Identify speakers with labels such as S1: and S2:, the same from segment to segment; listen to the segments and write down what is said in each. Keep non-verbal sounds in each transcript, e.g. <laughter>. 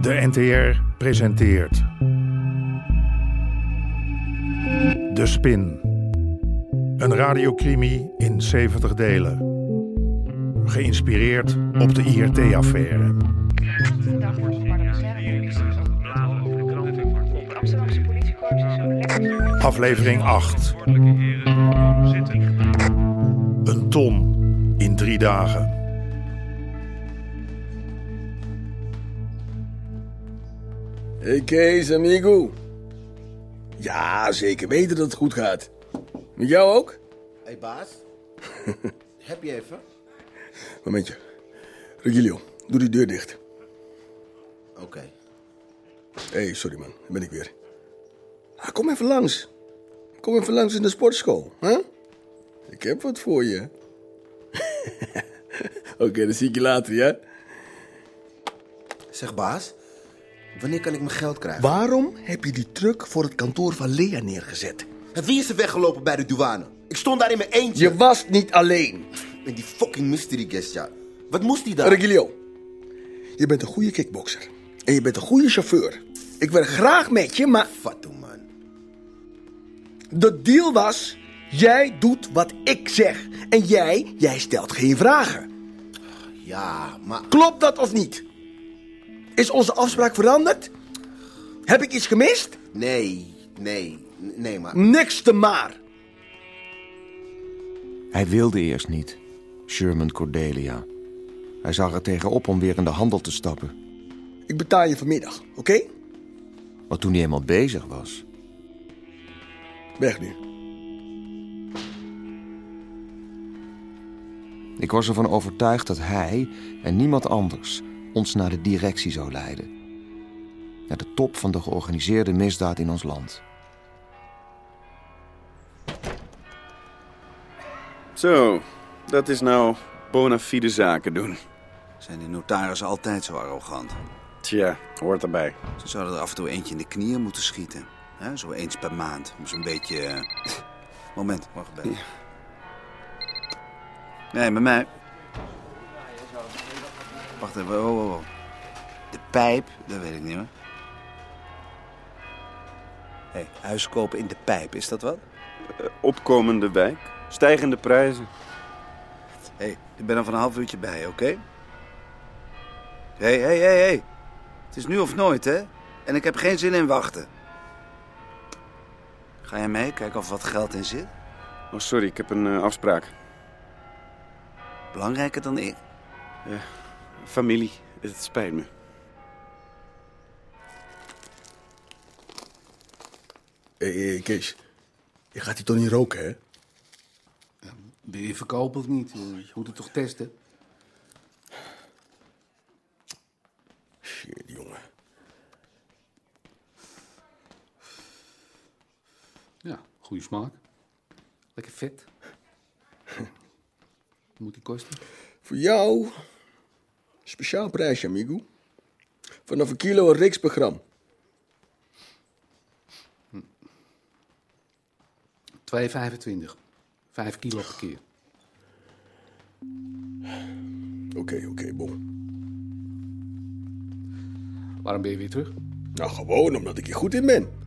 S1: De NTR presenteert. De Spin. Een radiocrimi in 70 delen. Geïnspireerd op de IRT-affaire.
S2: Dag wordt op Het Amsterdamse politiekorps is een lekker...
S1: Aflevering 8. Een ton in drie dagen.
S3: Hey Kees, amigo. Ja, zeker weten dat het goed gaat. Met jou ook?
S4: Hé hey baas, heb je even?
S3: Momentje. Regilio, doe die deur dicht.
S4: Oké.
S3: Hé, hey, sorry man, daar ben ik weer. Ah, kom even langs. Kom even langs in de sportschool, hè? Ik heb wat voor je. <laughs> Oké, dan zie ik je later, ja?
S4: Zeg baas, wanneer kan ik mijn geld krijgen?
S3: Waarom heb je die truck voor het kantoor van Lea neergezet?
S4: En wie is er weggelopen bij de douane? Ik stond daar in mijn eentje.
S3: Je was niet alleen.
S4: En die fucking mystery guest, ja. Wat moest die daar?
S3: Regilio, je bent een goede kickbokser. En je bent een goede chauffeur. Ik werk graag met je, maar
S4: Fatou, man.
S3: De deal was, jij doet wat ik zeg. En jij, jij stelt geen vragen.
S4: Ja, maar...
S3: Klopt dat of niet? Is onze afspraak veranderd? Heb ik iets gemist?
S4: Nee, nee, n- nee, maar...
S3: Niks te maar.
S5: Hij wilde eerst niet. Sherman Cordelia. Hij zag er tegenop om weer in de handel te stappen.
S3: Ik betaal je vanmiddag, oké?
S5: Maar toen hij eenmaal bezig was...
S3: Weg nu.
S5: Ik was ervan overtuigd dat hij en niemand anders ons naar de directie zou leiden. Naar de top van de georganiseerde misdaad in ons land.
S6: Zo, dat is nou bona fide zaken doen.
S7: Zijn die notarissen altijd zo arrogant?
S6: Tja, hoort erbij.
S7: Ze zouden er af en toe eentje in de knieën moeten schieten. hè? zo eens per maand, om zo'n beetje... eh, <laughs> Moment, wacht even. Nee, met mij... Wacht even, wow, wow, wow. De pijp, dat weet ik niet meer. Hé, hey, huis kopen in de pijp, is dat wat?
S6: Opkomende wijk, stijgende prijzen.
S7: Hé, hey, ik ben er van een half uurtje bij, oké? Hé, hé, hé, hé. Het is nu of nooit, hè? En ik heb geen zin in wachten. Ga jij mee? Kijk of wat geld in zit.
S6: Oh, sorry, ik heb een eh, afspraak.
S7: Belangrijker dan ik.
S6: Familie, het spijt me.
S3: Hé, hey, Kees. Je gaat die toch niet roken, hè?
S8: Ben je verkopen of niet? Je moet het toch testen?
S3: Shit, jongen.
S8: Ja, goede smaak. Lekker vet. moet die kosten?
S3: Voor jou... Speciaal prijsje, amigo. Vanaf een kilo een riks per gram.
S8: 2,25. Vijf kilo per keer.
S3: Oké, oké, bon.
S8: Waarom ben je weer terug?
S3: Nou, gewoon omdat ik hier goed in ben.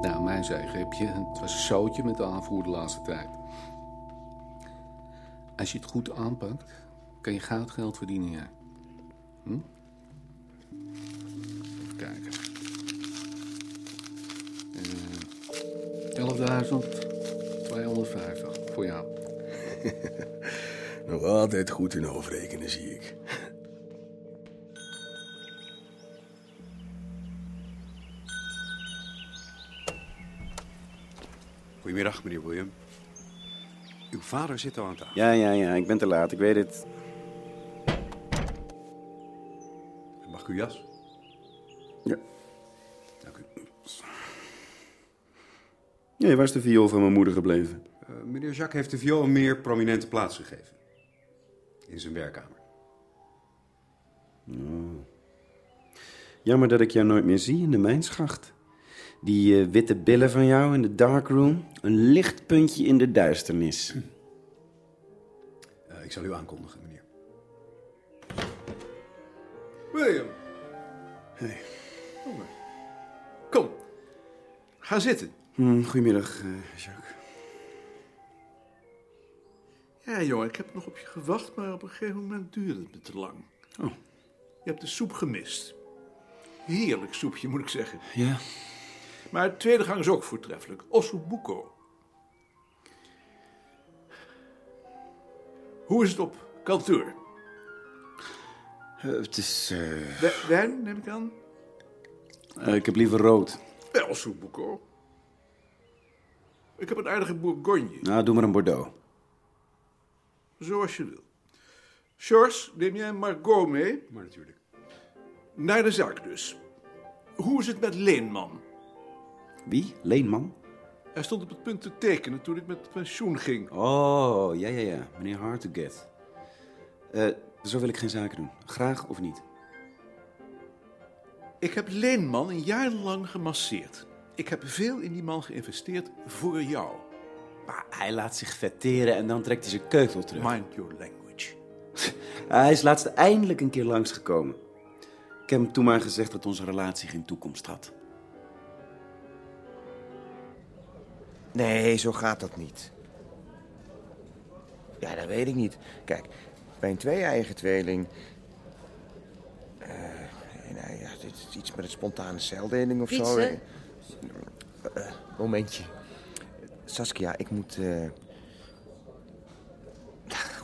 S8: Nou, mijn zegen heb je. Het was een zootje met de aanvoer de laatste tijd. Als je het goed aanpakt, kan je goud geld verdienen, ja. Hm? Even kijken. Eh 11.250 voor jou.
S3: Nog altijd goed in overrekenen, zie ik.
S7: Goedemiddag, meneer William. Uw vader zit al aan tafel.
S6: Ja, ja, ja, ik ben te laat, ik weet het.
S7: Mag ik uw jas?
S6: Ja.
S7: Dank u.
S6: Nee, waar is de viool van mijn moeder gebleven?
S9: Eh, meneer Jacques heeft de viool een meer prominente plaats gegeven. In zijn werkkamer.
S6: Jammer dat ik jou nooit meer zie in de mijnschacht. Die eh, witte billen van jou in de darkroom. Een lichtpuntje in de duisternis.
S9: Eh, ik zal u aankondigen, meneer. William.
S10: Hey.
S9: Kom. Ga zitten.
S6: Hm, goedemiddag, eh, Jacques.
S3: Ja, jongen, ik heb nog op je gewacht, maar op een gegeven moment duurde het me te lang.
S6: Oh.
S3: Je hebt de soep gemist. Heerlijk soepje, moet ik zeggen.
S6: Ja.
S3: Maar het tweede gang is ook voortreffelijk. Ossobuco. Hoe is het op kantoor?
S6: Eh, het is... eh,
S3: We- Wijn, neem ik aan?
S6: eh, ik heb liever rood.
S3: Bij Ossobuco. Ik heb een aardige bourgogne,
S6: Nou, doe maar een Bordeaux.
S3: zoals je wil. George, neem jij Margot mee?
S9: Maar natuurlijk.
S3: Naar de zaak dus. Hoe is het met Leenman?
S6: Wie? Leenman?
S3: Hij stond op het punt te tekenen toen ik met pensioen ging.
S6: Oh, ja, ja, ja. Meneer Hard to Get. Eh, zo wil ik geen zaken doen. Graag of niet.
S3: Ik heb Leenman een jaar lang gemasseerd. Ik heb veel in die man geïnvesteerd voor jou.
S6: Maar hij laat zich vetteren en dan trekt hij zijn keutel terug. Ah,
S3: Mind your language.
S6: Hij is laatst eindelijk een keer langsgekomen. Ik heb hem toen maar gezegd dat onze relatie geen toekomst had.
S5: Nee, zo gaat dat niet. Ja, dat weet ik niet. Kijk, bij een twee-eigen tweeling... eh, nou ja, dit is iets met een spontane celdeling of zo.
S11: Fietsen?
S5: Eh, eh, momentje. Saskia, ik moet... eh,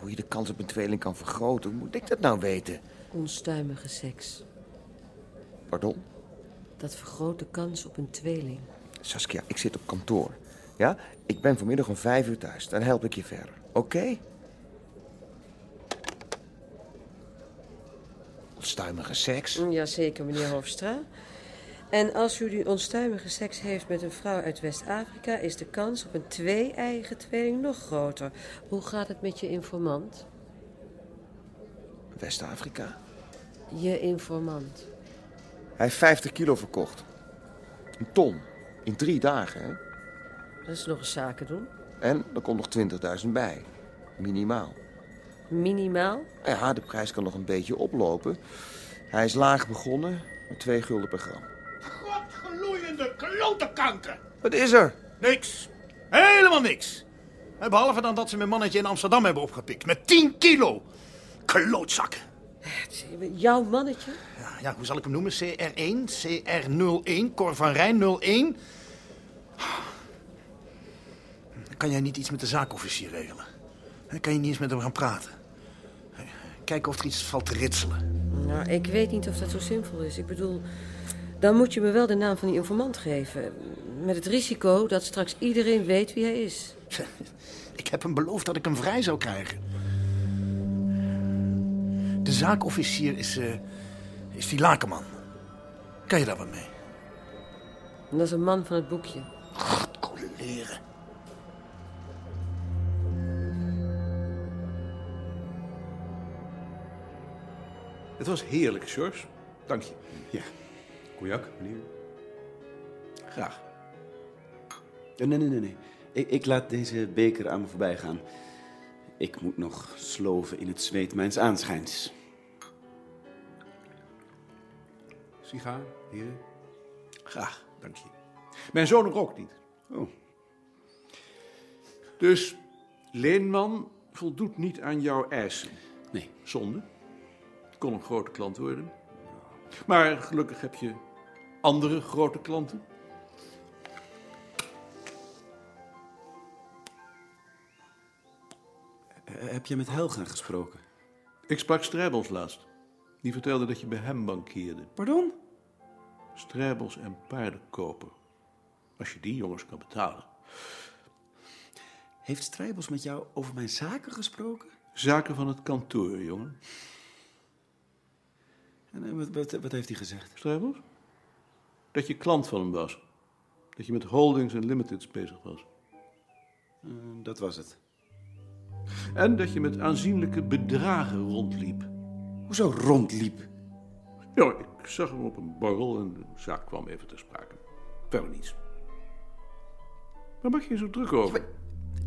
S5: hoe je de kans op een tweeling kan vergroten, hoe moet ik dat nou weten?
S11: Onstuimige seks.
S5: Pardon?
S11: Dat vergroot de kans op een tweeling.
S5: Saskia, ik zit op kantoor. Ja? Ik ben vanmiddag om vijf uur thuis. Dan help ik je verder. Oké? Onstuimige seks.
S11: Jazeker, meneer Hofstra. En als u die onstuimige seks heeft met een vrouw uit West-Afrika... is de kans op een twee-eigen tweeling nog groter. Hoe gaat het met je informant?
S5: West-Afrika.
S11: Je informant.
S5: Hij heeft 50 kilo verkocht. Een ton. In drie dagen. Hè?
S11: Dat is nog eens zaken doen.
S5: En er komt nog 20.000 bij. Minimaal.
S11: Minimaal.
S5: Nou Ja, de prijs kan nog een beetje oplopen. Hij is laag begonnen met 2 gulden per gram.
S2: Godgeloeiende klotenkanker.
S5: Wat is er?
S2: Niks. Helemaal niks. En Behalve dan dat ze mijn mannetje in Amsterdam hebben opgepikt. Met 10 kilo. Klootzakken.
S11: Jouw mannetje?
S2: Ja, ja, hoe zal ik hem noemen? CR1, CR01, Cor van Rijn 01. Kan jij niet iets met de zaakofficier regelen? Kan je niet eens met hem gaan praten? Kijken of er iets valt te ritselen.
S11: Nou, ik weet niet of dat zo simpel is. Ik bedoel, dan moet je me wel de naam van die informant geven. Met het risico dat straks iedereen weet wie hij is.
S2: Ik heb hem beloofd dat ik hem vrij zou krijgen. De zaakofficier is, eh, is die lakenman. Kan je daar wat mee?
S11: En dat is een man van het boekje.
S2: Leren.
S3: Het was heerlijk, George. Dank je.
S9: Ja. Cognac, meneer?
S3: Graag.
S6: Eh, Nee, nee, nee, nee. Ik, ik laat deze beker aan me voorbij gaan. Ik moet nog sloven in het zweet mijns aanschijns.
S9: Sigaar, heren?
S3: Graag, dank je. Mijn zoon rookt niet.
S6: Oh.
S3: Dus Leenman voldoet niet aan jouw eisen.
S6: Nee.
S3: Zonde. Kon een grote klant worden. Maar gelukkig heb je andere grote klanten.
S6: Eh, heb je met Helga gesproken?
S3: Ik sprak Strijbels laatst. Die vertelde dat je bij hem bankeerde.
S6: Pardon?
S3: Strijbels en paardenkoper. Als je die jongens kan betalen.
S6: Heeft Strijbels met jou over mijn zaken gesproken?
S3: Zaken van het kantoor, jongen.
S6: En eh, wat, wat, wat heeft hij gezegd?
S3: Strijbels? Dat je klant van hem was. Dat je met holdings en limiteds bezig was.
S6: Eh, dat was het.
S3: En dat je met aanzienlijke bedragen rondliep.
S6: Hoezo rondliep?
S3: Ja, ik zag hem op een borrel en de zaak kwam even ter sprake. Verder niets. Waar maak je je zo druk over?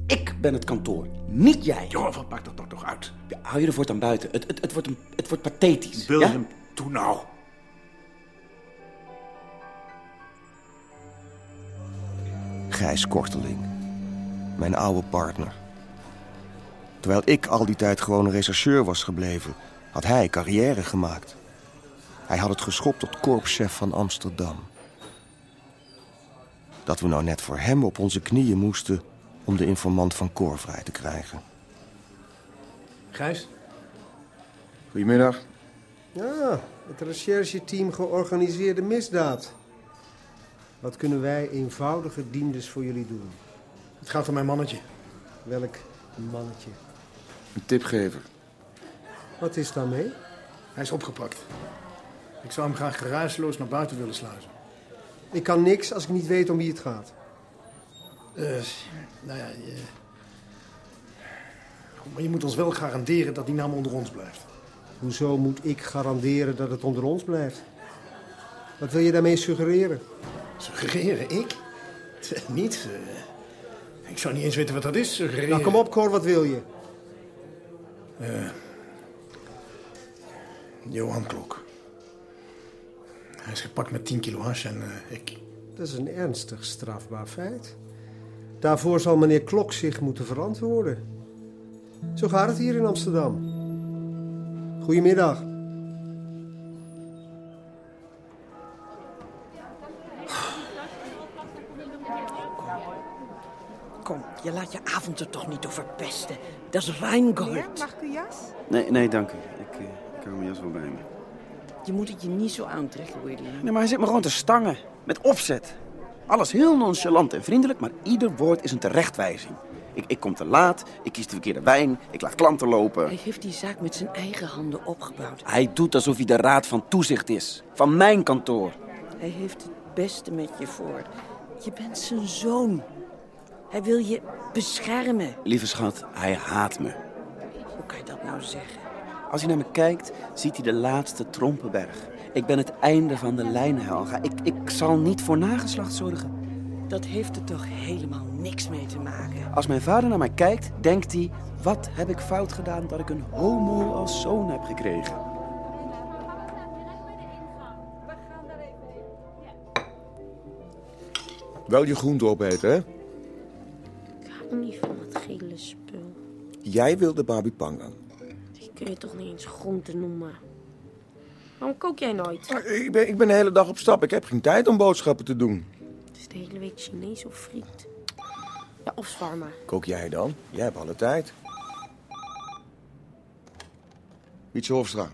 S6: Ik ben het kantoor, niet jij.
S3: Joh, wat maakt dat nou toch uit?
S6: Ja, hou je ervoor dan buiten. Het, het, het, wordt, een, het wordt pathetisch.
S3: William,
S6: Ja?
S3: Doe nou.
S5: Gijs Korteling. Mijn oude partner. Terwijl ik al die tijd gewoon een rechercheur was gebleven, had hij carrière gemaakt. Hij had het geschopt tot korpschef van Amsterdam. Dat we nou net voor hem op onze knieën moesten om de informant van Cor vrij te krijgen.
S12: Gijs?
S5: Goedemiddag.
S8: Ja, het rechercheteam georganiseerde misdaad. Wat kunnen wij eenvoudige dienders voor jullie doen?
S12: Het gaat om mijn mannetje.
S8: Welk mannetje?
S5: Een tipgever.
S8: Wat is daarmee?
S12: Hij is opgepakt. Ik zou hem graag geruisloos naar buiten willen sluizen.
S8: Ik kan niks als ik niet weet om wie het gaat.
S12: Eh, nou ja, je... Goed, maar je moet ons wel garanderen dat die naam onder ons blijft.
S8: Hoezo moet ik garanderen dat het onder ons blijft? Wat wil je daarmee suggereren?
S12: Suggereren? Ik? Tch, Niet. eh, ik zou niet eens weten wat dat is, suggereren.
S8: Nou, kom op, Cor, wat wil je?
S12: Eh, Johan Klok. Hij is gepakt met 10 kilo hash en eh, ik...
S8: Dat is een ernstig strafbaar feit. Daarvoor zal meneer Klok zich moeten verantwoorden. Zo gaat het hier in Amsterdam. Goedemiddag.
S7: Kom, je laat je avond er toch niet over pesten. Dat is Reingold.
S2: Meneer, mag ik uw jas?
S13: Nee, nee, dank u. Ik, eh, ik hou mijn jas wel bij me.
S7: Je moet het je niet zo aantrekken, William.
S6: Nee, maar hij zit me gewoon te stangen. Met opzet. Alles heel nonchalant en vriendelijk, maar ieder woord is een terechtwijzing. Ik, ik kom te laat, ik kies de verkeerde wijn, ik laat klanten
S7: Hij
S6: lopen.
S7: heeft die zaak met zijn eigen handen opgebouwd.
S6: Hij doet alsof hij de raad van toezicht is. Van mijn kantoor.
S7: Hij heeft het beste met je voor. Je bent zijn zoon. Hij wil je beschermen.
S6: Lieve schat, hij haat me.
S7: Hoe kan je dat nou zeggen?
S6: Als hij naar me kijkt, ziet hij de laatste Trompenberg. Ik ben het einde van de lijn, Helga. Ik, ik zal niet voor nageslacht zorgen.
S7: Dat heeft er toch helemaal niks mee te maken.
S6: Als mijn vader naar mij kijkt, denkt hij... Wat heb ik fout gedaan dat ik een homo als zoon heb gekregen?
S4: Wel je groente opeten, hè?
S14: Ik hou niet van dat gele spul.
S4: Jij wilde Babi Pangang.
S14: Die kun je toch niet eens groente noemen? Waarom kook jij nooit?
S4: Ik ben, ik ben de hele dag op stap. Ik heb geen tijd om boodschappen te doen.
S14: Het is de hele week Chinees of friet. Ja, of zwarma.
S4: Kook jij dan? Jij hebt alle tijd. Wietse Hofstra.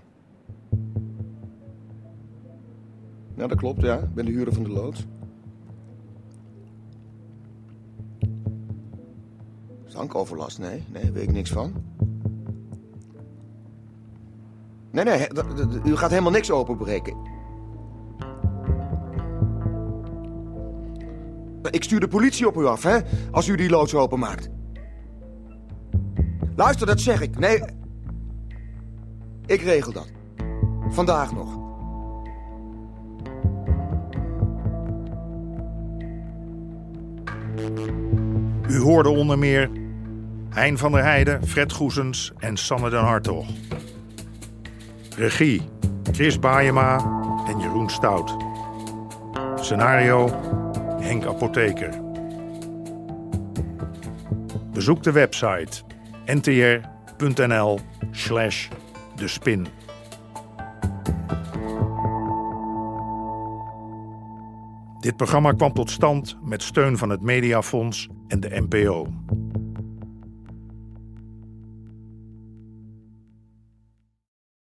S4: Nou, dat klopt, ja. Ik ben de huurder van de loods. Stankoverlast? Nee, nee, weet ik niks van. Nee, nee, he- dat- dat- u gaat helemaal niks openbreken. Ik stuur de politie op u af, hè? Als u die loods openmaakt. Luister, dat zeg ik. Nee. Ik regel dat. Vandaag nog.
S1: U hoorde onder meer Hein van der Heijden, Fred Goesens en Sanne den Hartog. Regie Chris Baayema en Jeroen Stout. Scenario Henk Apotheker. Bezoek de website ntr.nl slash de spin. Dit programma kwam tot stand met steun van het Mediafonds en de NPO.